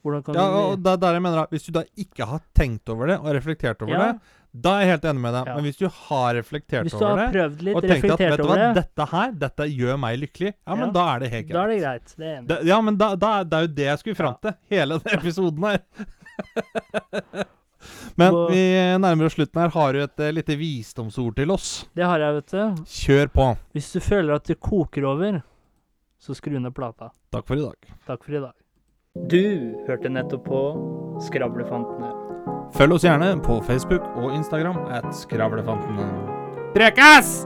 [SPEAKER 1] Hvordan kan
[SPEAKER 2] Ja,
[SPEAKER 1] du
[SPEAKER 2] og det er der jeg mener da, Hvis du da ikke har tenkt over det og reflektert over
[SPEAKER 1] Ja,
[SPEAKER 2] det, da er jeg helt enig med deg.
[SPEAKER 1] Ja.
[SPEAKER 2] Men hvis du har reflektert
[SPEAKER 1] Hvis du har
[SPEAKER 2] over det
[SPEAKER 1] prøvd litt,
[SPEAKER 2] og tenkt at vet
[SPEAKER 1] reflektert
[SPEAKER 2] du hva,
[SPEAKER 1] over det,
[SPEAKER 2] dette her, dette gjør meg lykkelig, ja, men
[SPEAKER 1] Ja.
[SPEAKER 2] da er det helt
[SPEAKER 1] da er
[SPEAKER 2] greit.
[SPEAKER 1] det greit. Det er enig.
[SPEAKER 2] Det, ja, men da, da, det er jo det jeg skulle fram til, hele den episoden her. men
[SPEAKER 1] Må-
[SPEAKER 2] vi nærmer oss slutten her. Har du et eh, lite visdomsord til oss?
[SPEAKER 1] Det har jeg, vet du.
[SPEAKER 2] Kjør på.
[SPEAKER 1] Hvis du føler at det koker over, så skru ned plata.
[SPEAKER 2] Takk for i dag.
[SPEAKER 1] Takk for i dag. Du hørte nettopp på Skravlefantene.
[SPEAKER 2] Følg oss gjerne på Facebook og Instagram at Skravlefantene. Prekas!